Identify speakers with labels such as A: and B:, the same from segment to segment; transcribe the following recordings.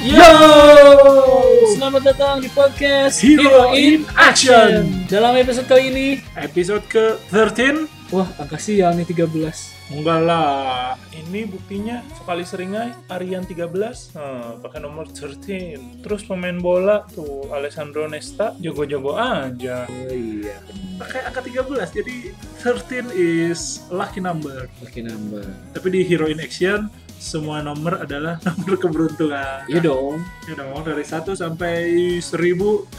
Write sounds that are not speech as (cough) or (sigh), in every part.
A: Yo! Selamat datang di podcast
B: Hero in Action.
A: Dalam episode kali ini,
B: Episode ke-13
A: wah angka sial nih 13.
B: Enggak lah Ini buktinya sekali seringai Arian 13 nah, Pakai nomor 13 Terus pemain bola tuh Alessandro Nesta Jago-jago aja
A: Oh iya, benar.
B: Pakai angka 13 Jadi 13 is lucky number
A: Makin nambah.
B: Tapi di Hero in Action Semua nomor adalah (laughs) nomor keberuntungan
A: Iya dong.
B: Ya dong Dari 1 sampai 1000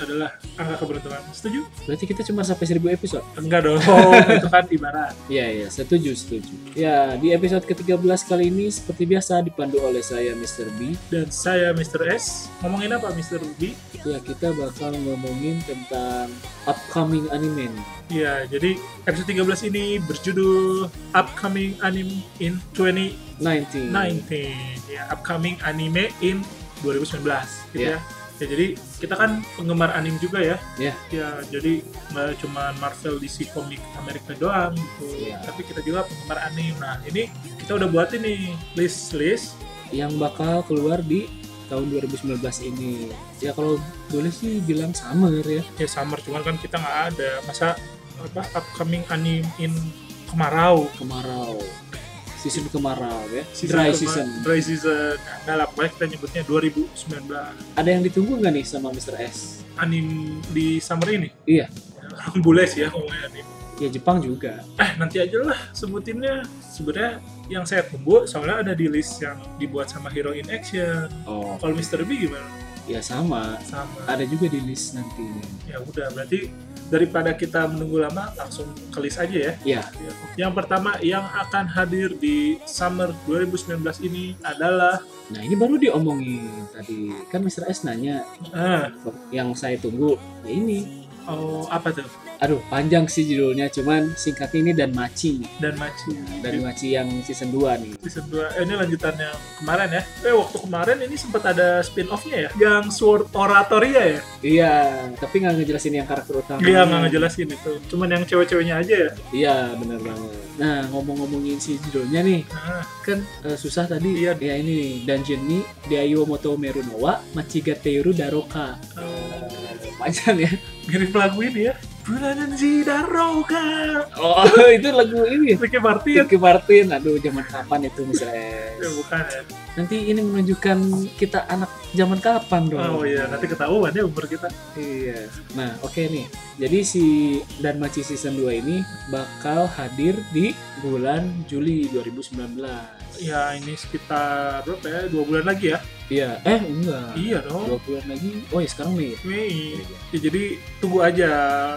B: adalah angka keberuntungan Setuju?
A: Berarti kita cuma sampai 1000 episode.
B: Enggak dong (laughs) Itu kan ibarat
A: Iya iya, setuju setuju. Ya, di episode ke-13 kali ini seperti biasa dipandu oleh saya Mr. B.
B: Dan saya Mr. S Ngomongin apa Mr. B?
A: Ya, kita bakal ngomongin tentang upcoming anime. nih.
B: Ya, jadi episode 13 ini berjudul Upcoming Anime in 2019.
A: 19.
B: Ya, Upcoming Anime in 2019 gitu ya.
A: Ya.
B: Ya, jadi kita kan penggemar anime juga ya.
A: Ya.
B: Ya, jadi nggak cuma Marvel DC komik Amerika doang gitu.
A: Ya.
B: Tapi kita juga penggemar anime. Nah, ini kita udah buat ini list-list.
A: yang bakal keluar di tahun 2019 ini. Ya kalau boleh sih bilang summer ya.
B: Ya summer cuman kan kita nggak ada masa apa upcoming anime in kemarau
A: kemarau season kemarau ya
B: Season
A: dry
B: kema-
A: season
B: dry season Nah, nggak lah pokoknya kita nyebutnya 2019
A: ada yang ditunggu nggak nih sama Mr. S
B: anim di summer ini
A: iya
B: boleh sih ya ngomongnya anim
A: ya Jepang juga
B: eh nanti aja lah sebutinnya sebenarnya yang saya tunggu soalnya ada di list yang dibuat sama Hero in Action
A: oh
B: kalau Mr. B gimana?
A: ya sama
B: sama
A: ada juga di list nanti
B: ya udah berarti daripada kita menunggu lama langsung ke list aja ya
A: ya
B: Ya. yang pertama yang akan hadir di summer 2019 ini adalah
A: nah ini baru diomongin tadi kan Mr. S nanya
B: ah,
A: yang saya tunggu ya ini
B: oh apa tuh
A: aduh panjang sih judulnya cuman singkatnya ini dan maci
B: dan maci
A: dan maci yang season 2 nih
B: season 2 eh, ini lanjutan yang kemarin ya eh waktu kemarin ini sempat ada spin offnya ya yang Sword Oratoria ya
A: iya tapi nggak ngejelasin yang karakter utama
B: dia Iya, nggak ngejelasin itu cuman yang cewek-ceweknya aja ya
A: iya bener banget nah ngomong-ngomongin si judulnya nih
B: nah,
A: kan eh, susah tadi
B: Iya.
A: ya ini dungeon ni Dayo Moto Merunowa Machiga Teiru Daroka
B: eh,
A: Eh, panjang ya
B: mirip lagu ini ya Bulanan Zidaroka
A: oh (laughs) itu lagu ini
B: Ricky Martin
A: Ricky Martin aduh zaman kapan itu
B: ya
A: misalnya
B: bukan ya
A: nanti ini menunjukkan kita anak zaman kapan dong
B: oh iya nanti ketahuan ya umur kita
A: iya nah oke nih jadi si Dan Machi season 2 ini bakal hadir di bulan Juli 2019
B: ya ini sekitar berapa ya dua bulan lagi ya
A: iya eh enggak
B: iya dong
A: dua bulan lagi oh ya sekarang nih
B: Mei Ya, jadi tunggu aja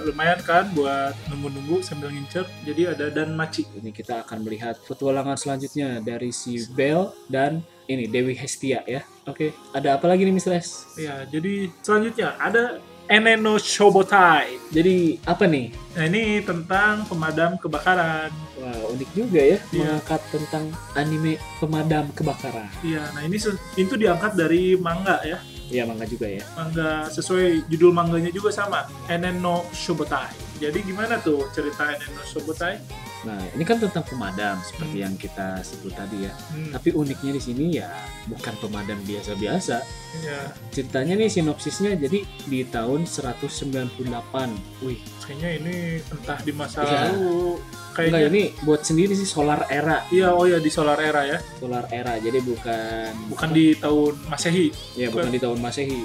B: lumayan kan buat nunggu-nunggu sambil ngincer jadi ada dan maci
A: Ini kita akan melihat petualangan selanjutnya dari si Bell dan ini Dewi Hestia ya. Oke, ada apa lagi nih Miss Les?
B: Ya, jadi selanjutnya ada Eneno Shobotai.
A: Jadi apa nih?
B: Nah, ini tentang pemadam kebakaran.
A: Wah, unik juga ya
B: Iya.
A: mengangkat tentang anime pemadam kebakaran.
B: Iya, nah ini se- itu diangkat dari manga ya.
A: Iya, manga juga ya.
B: Manga sesuai judul manganya juga sama, Eneno Shobotai. Jadi gimana tuh cerita Eneno Shobotai?
A: Nah, ini kan tentang pemadam seperti yang kita sebut tadi ya.
B: Hmm,
A: Tapi uniknya di sini ya bukan pemadam biasa-biasa.
B: ya,
A: Ceritanya nih sinopsisnya jadi di tahun 198. Wih,
B: kayaknya ini entah di masa
A: Iya.
B: lalu
A: enggak
B: kayaknya.
A: ini buat sendiri sih Solar Era.
B: Iya, oh ya di Solar Era ya.
A: Solar Era jadi bukan
B: Bukan di tahun Masehi.
A: ya bukan di tahun Masehi.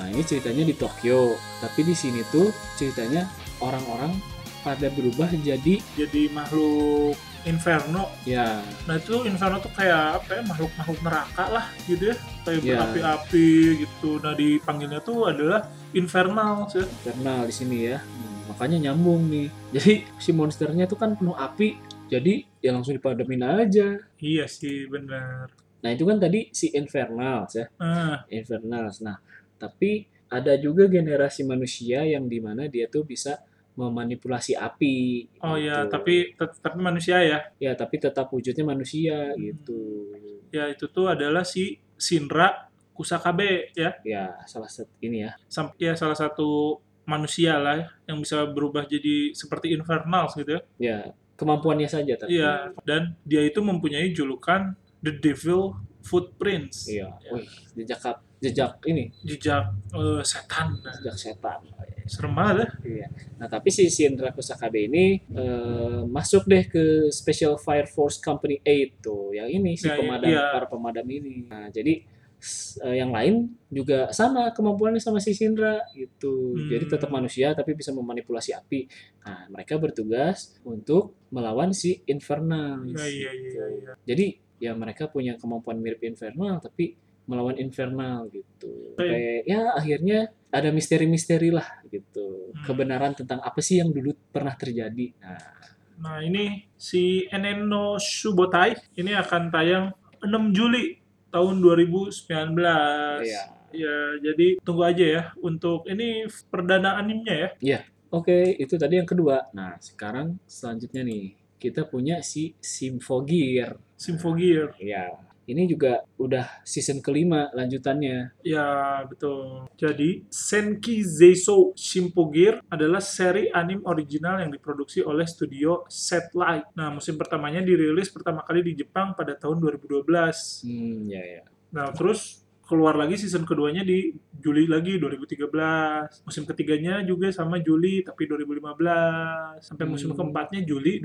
A: Nah, ini ceritanya di Tokyo, tapi di sini tuh ceritanya orang-orang pada berubah jadi
B: Jadi makhluk Inferno
A: ya
B: Nah itu Inferno tuh kayak apa ya makhluk-makhluk neraka lah gitu ya kayak
A: Iya.
B: berapi-api gitu. Nah dipanggilnya tuh adalah infernal sih.
A: internal di sini ya. Hmm, makanya nyambung nih. (laughs) Jadi si monsternya tuh kan penuh api, jadi ya langsung dipadamin aja.
B: Iya sih benar.
A: Nah, itu kan tadi si Infernals ya,
B: Nah,
A: Infernals. Nah, tapi ada juga generasi manusia yang dimana dia tuh bisa memanipulasi api.
B: oh ya
A: gitu.
B: tapi tet- tapi manusia ya.
A: ya tapi tetap wujudnya manusia gitu.
B: Ya itu tuh adalah si Sindra Kusakabe ya.
A: ya salah satu ini ya
B: Sam- ya salah satu manusia lah ya, yang bisa berubah jadi seperti infernal gitu ya.
A: ya kemampuannya saja tapi
B: Iya dan dia itu mempunyai julukan The Devil Footprints.
A: iya wih jejak kap- jejak ini
B: jejak eh, setan
A: jejak setan
B: serem banget ya
A: Iya. Nah tapi si Sindra Kusakabe ini eh, masuk deh ke Special Fire Force Company 8 tuh, yang ini si
B: Ya,
A: pemadam
B: iya.
A: para pemadam ini. Nah jadi s- eh, yang lain juga sama kemampuannya sama si Sindra gitu.
B: Hmm.
A: Jadi tetap manusia tapi bisa memanipulasi api. Nah mereka bertugas untuk melawan si Infernalis.
B: iya iya iya iya
A: Jadi ya mereka punya kemampuan mirip Infernal tapi melawan Infernal gitu.
B: Oke.
A: Sampai, ya akhirnya ada misteri-misteri lah gitu.
B: Hmm.
A: Kebenaran tentang apa sih yang dulu pernah terjadi. Nah,
B: nah ini si Eneno Subotai ini akan tayang 6 Juli tahun 2019
A: ya.
B: ya jadi tunggu aja ya untuk ini perdana animnya ya
A: Oke, itu tadi yang kedua. Nah, sekarang selanjutnya nih kita punya si Symphogear.
B: Symphogear
A: Ya, ini juga udah season kelima lanjutannya.
B: Ya, betul. Jadi, Senki Zeisou Shimpogir adalah seri anime original yang diproduksi oleh studio Satellite. Nah, musim pertamanya dirilis pertama kali di Jepang pada tahun 2012.
A: Hmm, ya ya.
B: Nah, terus keluar lagi season keduanya di Juli lagi 2013. Musim ketiganya juga sama Juli tapi 2015. Sampai musim
A: Hmm.
B: keempatnya Juli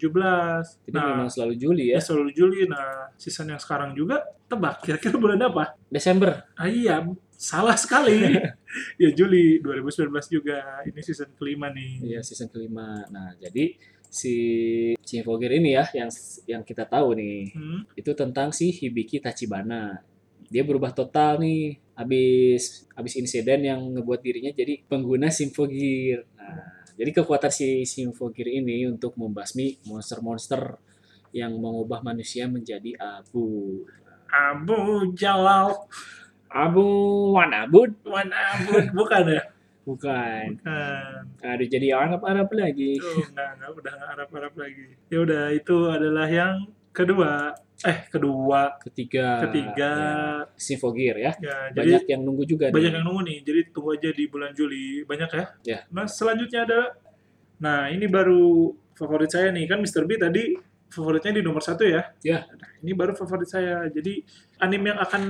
B: 2017.
A: Jadi
B: Nah,
A: memang selalu Juli
B: ya
A: ya.
B: selalu Juli. Nah, season yang sekarang juga tebak kira-kira bulan apa?
A: Desember.
B: Ah, iya, salah
A: (laughs)
B: sekali. ya Juli 2019 juga. Ini season kelima nih.
A: Iya, season kelima. Nah, jadi si Symphogear ini ya yang yang kita tahu nih.
B: Hmm,
A: itu tentang si Hibiki Tachibana. Dia berubah total nih abis abis insiden yang ngebuat dirinya jadi pengguna Symphogear. Nah, jadi kekuatan si Symphogear ini untuk membasmi monster-monster yang mengubah manusia menjadi abu.
B: Abu Jalal
A: Abu wan abu
B: Wan Abu bukan ya? Nah,
A: bukan.
B: Bukan.
A: Aduh jadi Arab-Arab lagi.
B: Oh, enggak, enggak, udah enggak Arab-Arab lagi. Ya udah, itu adalah yang kedua. Eh, kedua,
A: Ketiga.
B: ketiga.
A: Ya, Symphogear ya.
B: Ya, jadi
A: Banyak yang nunggu juga.
B: banyak
A: nih.
B: yang nunggu nih. Jadi tunggu aja di bulan Juli. Banyak ya.
A: Ya.
B: Nah, selanjutnya adalah Nah, ini baru favorit saya nih. Kan Mr. B tadi favoritnya di nomor satu ya.
A: Ya.
B: Nah, ini baru favorit saya. Jadi anime yang akan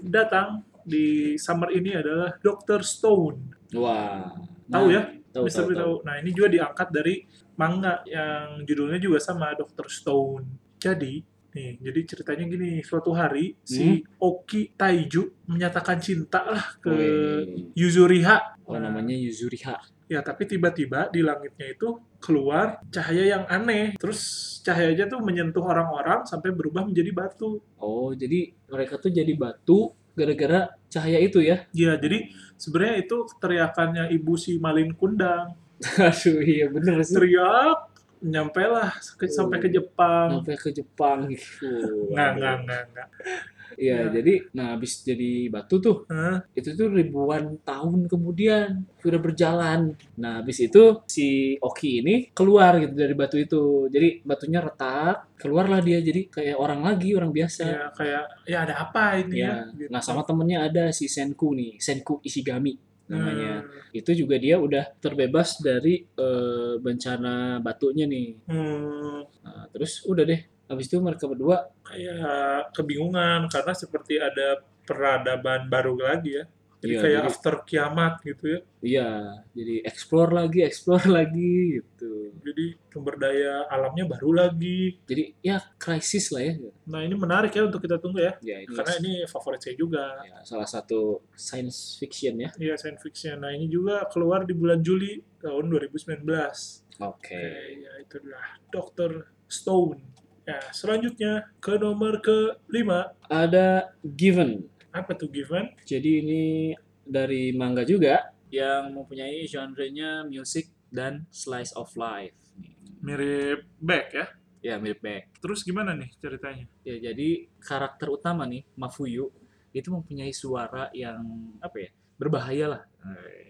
B: datang di summer ini adalah Dr. Stone.
A: Wah. Nah,
B: Tahu ya?
A: Tahu,
B: Mr. B tahu. Nah, ini juga diangkat dari manga yang judulnya juga sama Dr. Stone. Jadi, nih, jadi ceritanya gini, suatu hari si
A: Hmm?
B: Oki Taiju menyatakan cinta lah ke
A: Wih.
B: Yuzuriha.
A: Oh
B: Nah,
A: namanya Yuzuriha.
B: Ya, tapi tiba-tiba di langitnya itu keluar cahaya yang aneh. Terus cahayanya tuh menyentuh orang-orang sampai berubah menjadi batu.
A: Oh jadi mereka tuh jadi batu gara-gara cahaya itu ya? (laughs)
B: Ya, jadi sebenarnya itu teriakannya ibu si Malin Kundang.
A: Aduh iya bener sih.
B: Teriak, nyampe lah ke-
A: Oh.
B: sampai ke Jepang.
A: Sampai ke Jepang gitu.
B: Nggak, nggak, nggak, nggak.
A: Iya
B: Nah.
A: jadi nah habis jadi batu tuh
B: Hah?
A: itu tuh ribuan tahun kemudian sudah berjalan. Nah habis itu si Oki ini keluar gitu dari batu itu. Jadi batunya retak keluarlah dia jadi kayak orang lagi orang biasa.
B: Ya, kayak, ya ada apa ini
A: Ya.
B: ya? Gitu.
A: Nah sama temennya ada si Senku nih Senku Ishigami namanya.
B: Hmm.
A: itu juga dia udah terbebas dari eh, bencana batunya nih
B: Hmm.
A: Nah, terus udah deh habis itu mereka berdua
B: kayak kebingungan karena seperti ada peradaban baru lagi ya. Jadi
A: Iya,
B: kayak
A: jadi-
B: after kiamat gitu ya.
A: iya jadi explore lagi explore (laughs) lagi gitu
B: Jadi sumber daya alamnya baru lagi.
A: jadi ya krisis lah ya
B: Nah ini menarik ya untuk kita tunggu ya.
A: ya ini
B: Karena ini favorit saya juga.
A: ya, salah satu science fiction ya
B: Iya science fiction. Nah ini juga keluar di bulan Juli tahun 2019.
A: oke
B: Oke, ya itu adalah Dr. Stone. Ya selanjutnya ke nomor ke lima
A: ada given
B: Apa tuh Given?
A: jadi ini dari manga juga yang mempunyai genrenya music dan slice of life
B: Mirip Back ya.
A: ya mirip back
B: Terus gimana nih ceritanya?
A: Ya, jadi karakter utama nih, Mafuyu, itu mempunyai suara yang apa ya? Berbahaya lah.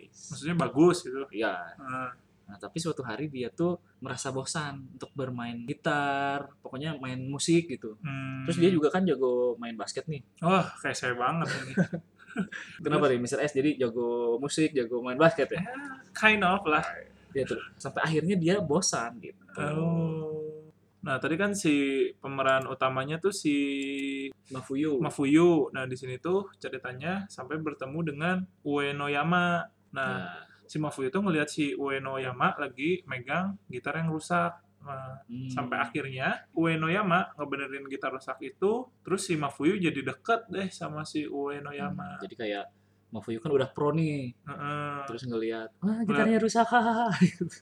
B: Maksudnya bagus gitu.
A: Ya.
B: Eh,
A: Nah, tapi suatu hari dia tuh merasa bosan untuk bermain gitar, pokoknya main musik gitu.
B: Hmm.
A: Terus dia juga kan jago main basket nih.
B: Wah, kayak saya banget ini. (laughs)
A: Kenapa nih Mr. S jadi jago musik, jago main basket ya?
B: Kind of lah.
A: Dia tuh sampai akhirnya dia bosan gitu.
B: Oh. Nah, tadi kan si pemeran utamanya tuh si
A: Mafuyu.
B: Mafuyu. Nah, di sini tuh ceritanya sampai bertemu dengan Uenoyama. Nah, si
A: Nah,
B: Mafuyu tuh ngelihat si Uenoyama lagi megang gitar yang rusak. Nah,
A: hmm.
B: sampai akhirnya Uenoyama ngebenerin gitar rusak itu, terus si Mafuyu jadi deket deh sama si
A: Hmm.
B: Uenoyama.
A: Jadi kayak Mafuyu kan udah pro nih,
B: Heeh.
A: terus ngelihat, wah gitarnya rusak, hahaha.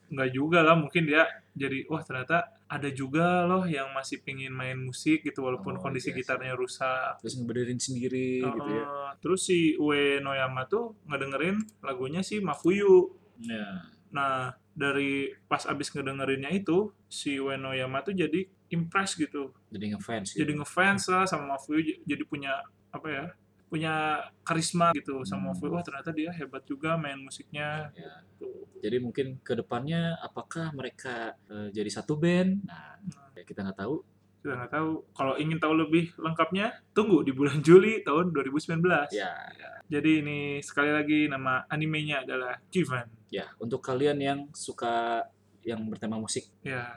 B: nggak juga lah mungkin dia jadi wah ternyata ada juga loh yang masih pingin main musik gitu walaupun
A: Oh,
B: kondisi
A: iya sih.
B: gitarnya rusak
A: terus ngebenerin sendiri gitu ya.
B: Heeh. Eh, terus si Ue Noyama tuh ngedengerin lagunya si Mafuyu
A: Ya.
B: nah dari pas abis ngedengerinnya itu si Ue Noyama tuh jadi impress gitu
A: Jadi ngefans.
B: jadi ngefans lah sama Mafuyu j- jadi punya apa ya punya karisma gitu sama
A: Hmm.
B: Mafuyu wah ternyata dia hebat juga main musiknya
A: Ya.
B: gitu.
A: Jadi mungkin kedepannya apakah mereka eh, jadi satu band? Nah, ya kita nggak tahu.
B: kita nggak tahu. Kalau ingin tahu lebih lengkapnya, tunggu di bulan Juli tahun 2019.
A: Ya,
B: Jadi ini sekali lagi nama animenya adalah Given.
A: ya untuk kalian yang suka yang bertema musik,
B: Ya,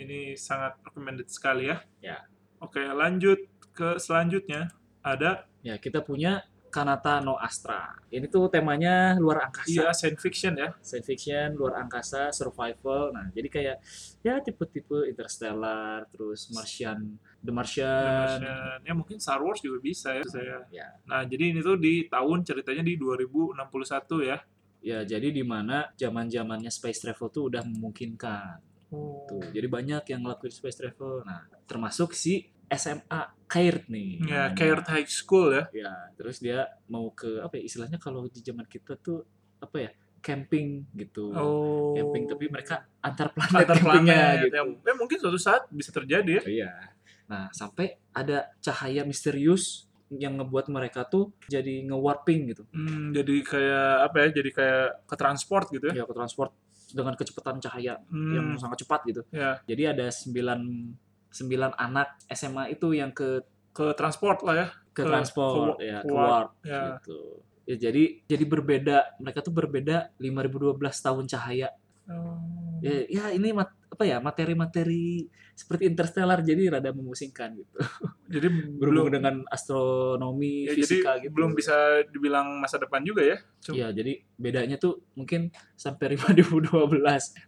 B: ini sangat recommended sekali ya.
A: Ya.
B: Oke, lanjut ke selanjutnya ada
A: ya kita punya Kanata no Astra. Ini tuh temanya luar
B: iya
A: angkasa,
B: science fiction ya.
A: science fiction, luar angkasa, survival. Nah, jadi kayak ya tipe-tipe Interstellar, terus Martian, The Martian.
B: Dan ya mungkin Star Wars juga bisa ya. Saya.
A: Eh, Ya,
B: Nah, jadi ini tuh di tahun ceritanya di 2061 ya.
A: ya jadi di mana zaman-zamannya space travel tuh udah memungkinkan. Tuh, jadi banyak yang ngelakuin space travel. Nah, termasuk si SMA Kairt nih.
B: Ya,
A: namanya.
B: Caird High School ya.
A: Ya, terus dia mau ke apa ya istilahnya kalau di zaman kita tuh apa ya? camping gitu.
B: Oh.
A: Camping tapi mereka antar planet
B: antar Oh.
A: campingnya
B: planet
A: gitu.
B: yang ya mungkin suatu saat bisa terjadi ya.
A: Iya. Nah, sampai ada cahaya misterius yang ngebuat mereka tuh jadi nge-warping gitu.
B: Hmm, jadi kayak apa ya? Jadi kayak ke transport gitu ya.
A: Ya, ke transport dengan kecepatan cahaya
B: Hmm,
A: yang sangat cepat gitu.
B: ya
A: Jadi ada 9 9 anak SMA itu yang ke
B: ke transport lah ya. Ke-
A: ke transport
B: ke-
A: ya
B: ke
A: ke warp
B: ya.
A: gitu ya jadi jadi berbeda mereka tuh berbeda 5012 tahun cahaya
B: Hmm,
A: ya, ya ini mat- apa ya materi-materi seperti interstellar jadi rada memusingkan gitu
B: Jadi
A: berhubung
B: belum
A: dengan astronomi
B: ya,
A: fisika
B: jadi
A: gitu
B: belum bisa dibilang masa depan juga ya. Cuma-
A: Iya, jadi bedanya tuh mungkin sampai (laughs) 5012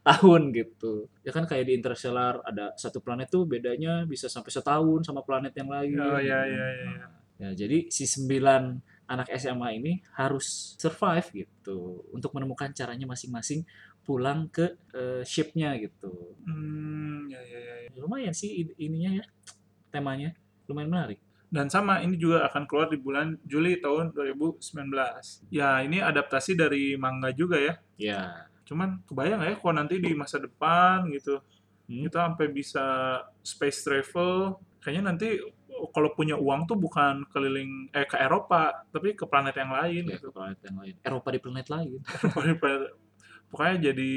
A: tahun gitu. Ya kan kayak di Interstellar ada satu planet tuh bedanya bisa sampai setahun sama planet yang lain.
B: Oh, iya, iya, iya, iya.
A: Ya, jadi si sembilan anak SMA ini harus survive gitu untuk menemukan caranya masing-masing pulang ke eh, shipnya gitu.
B: Hmm, ya, ya, ya, ya.
A: Lumayan sih in- ininya ya temanya lumayan menarik.
B: Dan sama ini juga akan keluar di bulan Juli tahun 2019. Ya, ini adaptasi dari manga juga ya.
A: Ya.
B: Cuman kebayang nggak ya kalau nanti di masa depan gitu
A: Hmm.
B: kita sampai bisa space travel kayaknya nanti kalau punya uang tuh bukan keliling eh ke Eropa tapi ke planet yang lain
A: Ya,
B: gitu (laughs)
A: ke planet yang lain. Eropa di planet lain.
B: Eropa di planet- pokoknya jadi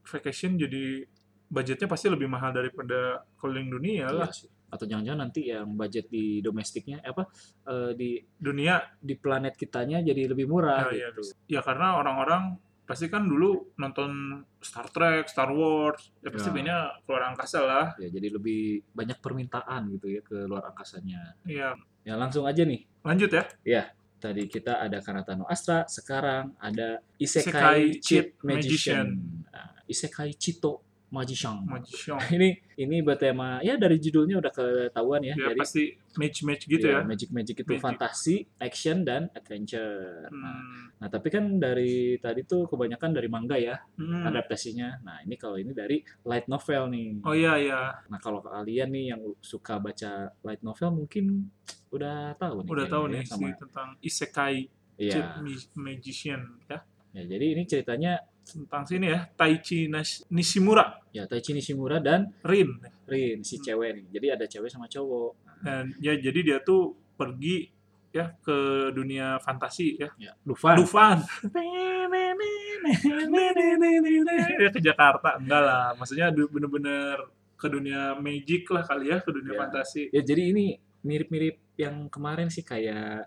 B: vacation jadi budgetnya pasti lebih mahal daripada keliling dunia lah
A: Iya sih. Atau jangan-jangan nanti yang budget di domestiknya eh, apa eh, di
B: dunia
A: di planet kitanya jadi lebih murah
B: Oh, iya,
A: gitu.
B: ya karena orang-orang pasti kan dulu nonton Star Trek Star Wars ya pasti
A: Ya.
B: banyak keluar angkasa lah
A: Ya jadi lebih banyak permintaan gitu ya ke luar angkasanya.
B: ya
A: Ya langsung aja nih.
B: lanjut ya
A: Tadi kita ada Kanata no Astra, sekarang ada Isekai,
B: Isekai
A: Cheat
B: Cheat
A: Magician.
B: Magician.
A: Nah, Isekai Chito Magician. Nah,
B: Magician
A: (laughs) Ini ini bertema ya dari judulnya udah ketahuan ya.
B: ya
A: jadi
B: pasti match-match gitu ya,
A: ya, magic-magic itu
B: Magic.
A: fantasi, action dan adventure. Nah,
B: Hmm.
A: Nah, tapi kan dari tadi tuh kebanyakan dari manga ya
B: Hmm.
A: adaptasinya. Nah, ini kalau ini dari light novel nih.
B: oh iya iya
A: Nah, kalau kalian nih yang suka baca light novel mungkin udah tahu nih.
B: udah
A: kayaknya
B: tahu
A: ya,
B: nih
A: sama.
B: sih tentang isekai
A: Iya.
B: Jet Mi- magician ya
A: Ya, jadi ini ceritanya
B: tentang sini ya Taichi Nash- Nishimura
A: ya Taichi Nishimura dan
B: Rin
A: Rin si
B: Hmm.
A: cewek nih. Jadi ada cewek sama cowok.
B: dan ya jadi dia tuh pergi ya ke dunia fantasi ya
A: Ya, Dufan.
B: Dufan (laughs) ya ke Jakarta enggak lah maksudnya du- bener-bener ke dunia magic lah kali ya ke dunia
A: (laughs) Ya.
B: fantasi
A: Ya, jadi ini mirip-mirip yang kemarin sih kayak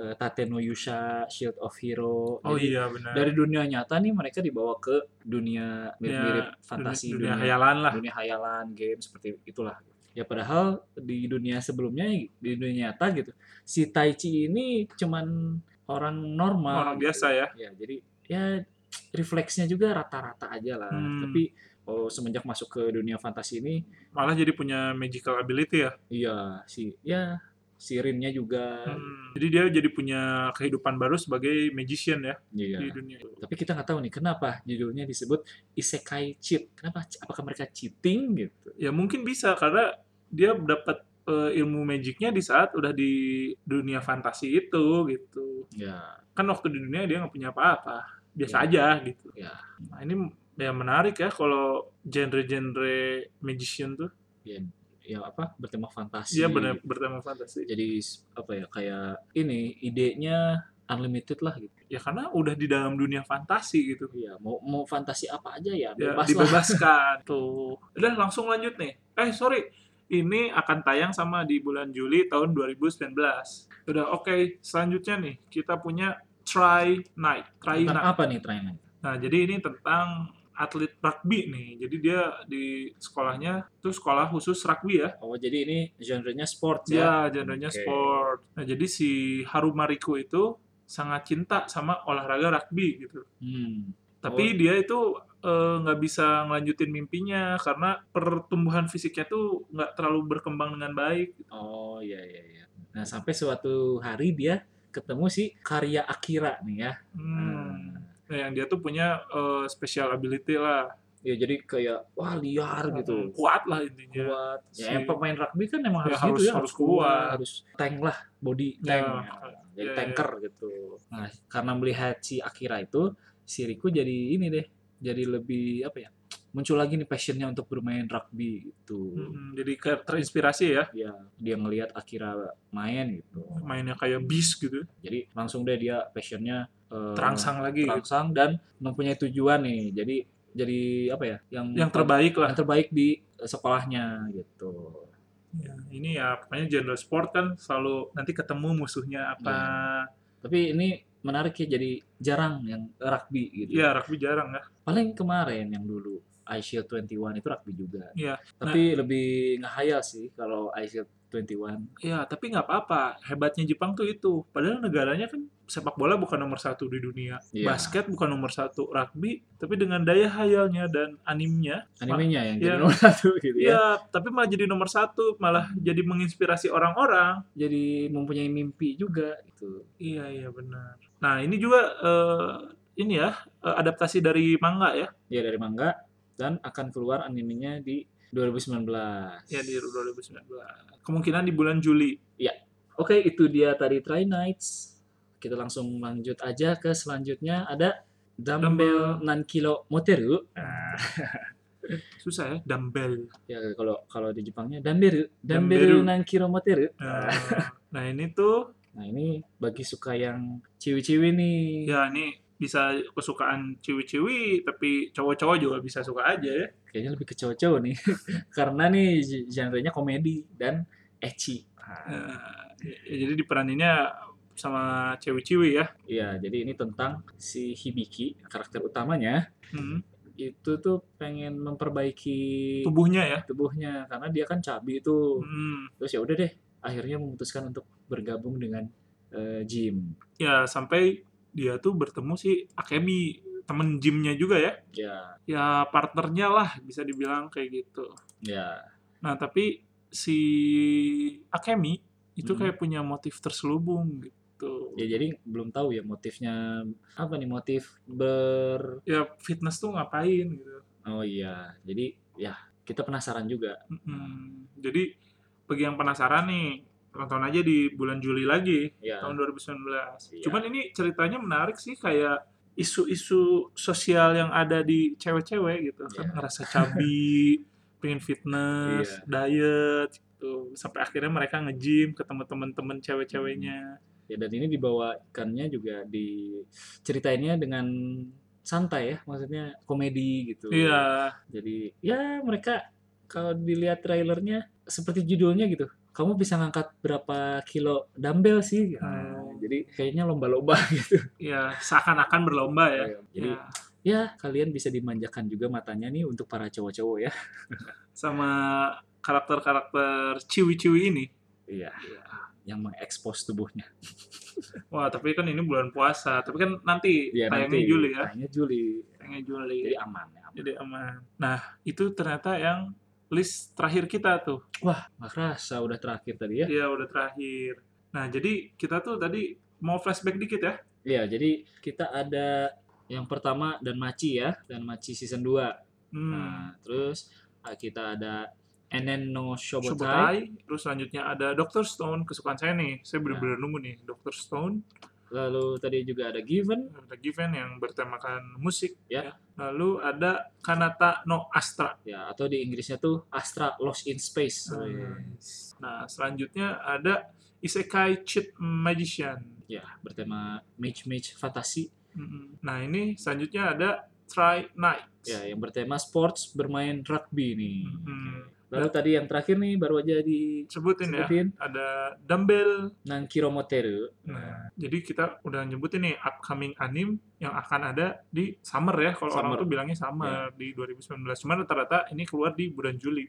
A: eh eh, Tate no Yusha, Shield of Hero.
B: Oh
A: Jadi,
B: iya benar.
A: Dari dunia nyata nih mereka dibawa ke dunia mirip-mirip
B: Dunia-
A: fantasi
B: Ya, dunia, khayalan lah.
A: dunia hayalan game seperti itulah Ah. ya padahal di dunia sebelumnya di dunia nyata gitu si Taichi ini cuman orang normal
B: Orang
A: gitu.
B: biasa ya.
A: ya jadi ya refleksnya juga rata-rata aja lah
B: Hmm.
A: tapi oh, semenjak masuk ke dunia fantasi ini
B: Malah jadi punya magical ability ya.
A: iya si ya si Rinnya juga
B: Hmm. Jadi dia jadi punya kehidupan baru sebagai magician ya
A: iya.
B: di dunia.
A: tapi kita nggak tahu nih kenapa judulnya disebut isekai cheat kenapa apakah mereka cheating gitu
B: Ya mungkin bisa karena dia dapat eh, ilmu magicnya di saat udah di dunia fantasi itu gitu.
A: ya
B: Kan waktu di dunia dia nggak punya apa-apa, biasa
A: Ya.
B: aja gitu.
A: Ya.
B: Nah ini ya menarik ya kalau genre-genre magician tuh
A: ya, ya apa bertema fantasi
B: dia Iya, benar bertema fantasi.
A: jadi apa ya kayak ini idenya unlimited lah gitu
B: Ya karena udah di dalam dunia fantasi gitu.
A: ya mau mau fantasi apa aja ya
B: ya,
A: bebas lah (laughs)
B: dibebaskan tuh. Udah langsung lanjut nih. Eh sorry, ini akan tayang sama di bulan Juli tahun 2019. Udah oke, selanjutnya nih kita punya Try Night. Try
A: tentang
B: Night.
A: apa nih trainnya
B: Nah jadi ini tentang atlet rugby nih. Jadi dia di sekolahnya tuh sekolah khusus rugby ya.
A: oh jadi ini genrenya sport ya
B: Ya, genrenya
A: Oke.
B: sport. Nah jadi si Haruma Riku itu sangat cinta sama olahraga rugby gitu
A: hmm.
B: tapi
A: Oh.
B: dia itu eh, nggak bisa ngelanjutin mimpinya karena pertumbuhan fisiknya tuh nggak terlalu berkembang dengan baik
A: oh ya ya ya nah sampai suatu hari dia ketemu si karya Akira nih ya
B: Hmm.
A: Hmm.
B: Nah, yang dia tuh punya eh, special ability lah
A: ya jadi kayak wah liar gitu
B: kuat lah intinya
A: kuat ya
B: Si-
A: yang pemain rugby kan emang
B: Ya,
A: harus,
B: harus-
A: gitu ya
B: harus kuat.
A: harus tank lah body tank
B: Ya,
A: ya. jadi
B: ya,
A: tanker gitu nah karena melihat si Akira itu si Riku jadi ini deh jadi lebih apa ya muncul lagi nih passionnya untuk bermain rugby gitu
B: Mm-mm, jadi kayak terinspirasi ya
A: ya dia ngelihat Akira main gitu
B: mainnya kayak bis gitu
A: jadi langsung deh dia passionnya eh,
B: terangsang lagi gitu.
A: terangsang dan mempunyai tujuan nih jadi jadi apa ya yang
B: yang terbaik lah
A: yang terbaik di eh, sekolahnya gitu
B: Ya, ini ya pokoknya genre sport kan selalu nanti ketemu musuhnya apa
A: tapi ini menarik ya jadi jarang yang rugby gitu
B: ya rugby jarang ya
A: paling kemarin yang dulu iShield 21 itu rugby juga
B: Iya.
A: tapi lebih ngehayal sih kalau iShield 21
B: ya tapi nggak apa-apa hebatnya Jepang tuh itu padahal negaranya kan sepak bola bukan nomor satu di dunia
A: Iya.
B: basket bukan nomor satu rugby tapi dengan daya hayalnya dan animnya
A: animenya yang jadi
B: Iya.
A: nomor (laughs) satu gitu
B: ya,
A: ya
B: tapi malah jadi nomor satu malah jadi menginspirasi orang-orang
A: jadi mempunyai mimpi juga gitu
B: iya iya benar nah ini juga eh, ini ya eh, adaptasi dari manga ya
A: ya dari manga dan akan keluar animenya di 2019
B: ya
A: Iya,
B: di 2019 kemungkinan di bulan Juli
A: oke itu dia tadi Try Nights kita langsung lanjut aja ke selanjutnya ada Dumbbell,
B: Dumbbell.
A: 6 Kilo Moteru
B: susah ya dumbbell
A: ya kalau kalau di Jepangnya Danberu
B: Danberu.
A: Danberu Nankiro Moteru
B: nah, nah ini tuh
A: Nah ini bagi suka yang ciwi-ciwi nih.
B: ya ini bisa kesukaan ciwi-ciwi tapi cowok-cowok juga bisa suka aja ya
A: Kayaknya lebih ke cowok-cowok nih. (laughs) Karena nih j- genre-nya komedi dan ecchi.
B: Nah, ya, jadi diperaninnya sama ciwi-ciwi ya
A: Iya, jadi ini tentang si Hibiki, karakter utamanya.
B: Hmm.
A: Itu tuh pengen memperbaiki
B: tubuhnya ya
A: tubuhnya karena dia kan cabi itu.
B: Hmm.
A: Terus ya udah deh, akhirnya memutuskan untuk bergabung dengan eh, gym.
B: Ya sampai dia tuh bertemu si Akemi temen gymnya juga ya.
A: Ya,
B: Ya partnernya lah bisa dibilang kayak gitu.
A: ya.
B: Nah tapi si Akemi itu
A: Hmm.
B: kayak punya motif terselubung gitu.
A: Ya jadi belum tahu ya motifnya apa nih motif ber
B: Ya fitness tuh ngapain gitu.
A: Oh iya, jadi ya kita penasaran juga.
B: Mm-mm. Nah, Jadi bagi yang penasaran nih tonton aja di bulan Juli lagi
A: Ya,
B: tahun 2019.
A: Iya.
B: Cuman ini ceritanya menarik sih kayak isu-isu sosial yang ada di cewek-cewek gitu kan
A: Iya.
B: ngerasa
A: (laughs)
B: cabi, pengen fitness,
A: Iya.
B: diet gitu. Sampai akhirnya mereka nge-gym ketemu temen-temen cewek-ceweknya.
A: ya, dan ini dibawakannya juga di ceritainnya dengan santai ya, maksudnya komedi gitu.
B: Iya,
A: Jadi ya mereka kalau dilihat trailernya seperti judulnya gitu. Kamu bisa ngangkat berapa kilo dumbbell sih?
B: Hmm.
A: Jadi kayaknya lomba-lomba gitu.
B: ya seakan-akan berlomba (laughs) ya.
A: Iya, Jadi
B: Ya.
A: ya kalian bisa dimanjakan juga matanya nih untuk para cowok-cowok ya.
B: Sama karakter-karakter ciwi-ciwi ini.
A: Iya. Yang mengekspos tubuhnya.
B: Wah, tapi kan ini bulan puasa. Tapi kan nanti
A: Ya,
B: tayangnya Juli ya.
A: Tayangnya Juli.
B: Tayangnya Juli.
A: Jadi aman ya. aman.
B: Jadi aman. Nah, itu ternyata yang list terakhir kita tuh.
A: Nggak kerasa udah terakhir tadi ya.
B: Iya, udah terakhir. Nah, jadi kita tuh tadi mau flashback dikit ya.
A: Iya, jadi kita ada yang pertama dan Maci ya, dan Maci season 2.
B: Hmm.
A: Nah, terus ah, kita ada Enen no Shobotai.
B: Shobotai. Terus selanjutnya ada Dr. Stone, kesukaan saya nih. Saya bener-bener nunggu nih, Dr. Stone.
A: Lalu tadi juga ada Given.
B: Ada Given yang bertemakan musik.
A: Ya.
B: Lalu ada Kanata no Astra.
A: Ya, atau di Inggrisnya tuh Astra Lost in Space.
B: Hmm. Nah, selanjutnya ada Isekai Cheat Magician.
A: Ya, bertema match-match fantasi.
B: Mm-mm. Nah, ini selanjutnya ada Try Night.
A: Ya, yang bertema sports bermain rugby nih.
B: Mm-mm.
A: Lalu tadi yang terakhir nih baru aja di
B: Hmm. Sebutin ya.
A: sebutin
B: Ada Dumbbell.
A: Nankiro Moteru.
B: Nah, jadi kita udah nyebutin nih upcoming anime yang akan ada di summer ya. Kalau orang
A: Summer.
B: tuh bilangnya summer di 2019. Cuman rata-rata ini keluar di bulan Juli.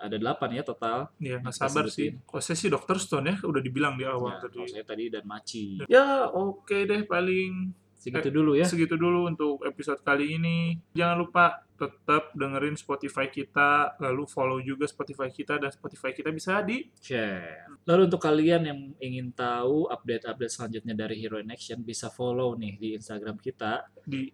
A: Ada delapan ya total.
B: Ya, nggak
A: Kita
B: sabar sih.
A: sebutin.
B: Kalau saya sih Dr. Stone ya, udah dibilang di awal
A: Ya,
B: tadi.
A: kalau saya tadi dan Maci.
B: Ya, oke deh paling
A: Segitu dulu ya.
B: segitu dulu untuk episode kali ini. Jangan lupa tetap dengerin Spotify kita, lalu follow juga Spotify kita dan Spotify kita bisa di
A: Share. Lalu untuk kalian yang ingin tahu update-update selanjutnya dari Hero in Action bisa follow nih di Instagram kita.
B: di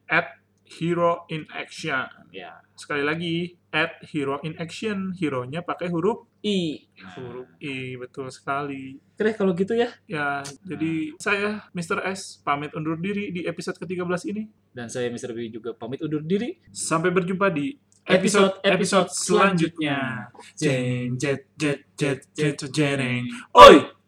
B: @hero in action.
A: Ya.
B: Sekali lagi @hero in action. Hero-nya pakai huruf
A: I.
B: Nah. huruf i betul sekali.
A: Keren kalau gitu ya.
B: Ya, jadi saya Mr. S pamit undur diri di episode ke-13 ini.
A: Dan saya Mr. B juga pamit undur diri.
B: Sampai berjumpa di
A: Episode-episode
B: episode selanjutnya. Jeng jet jet jet jet, jet jeng.
A: Oi!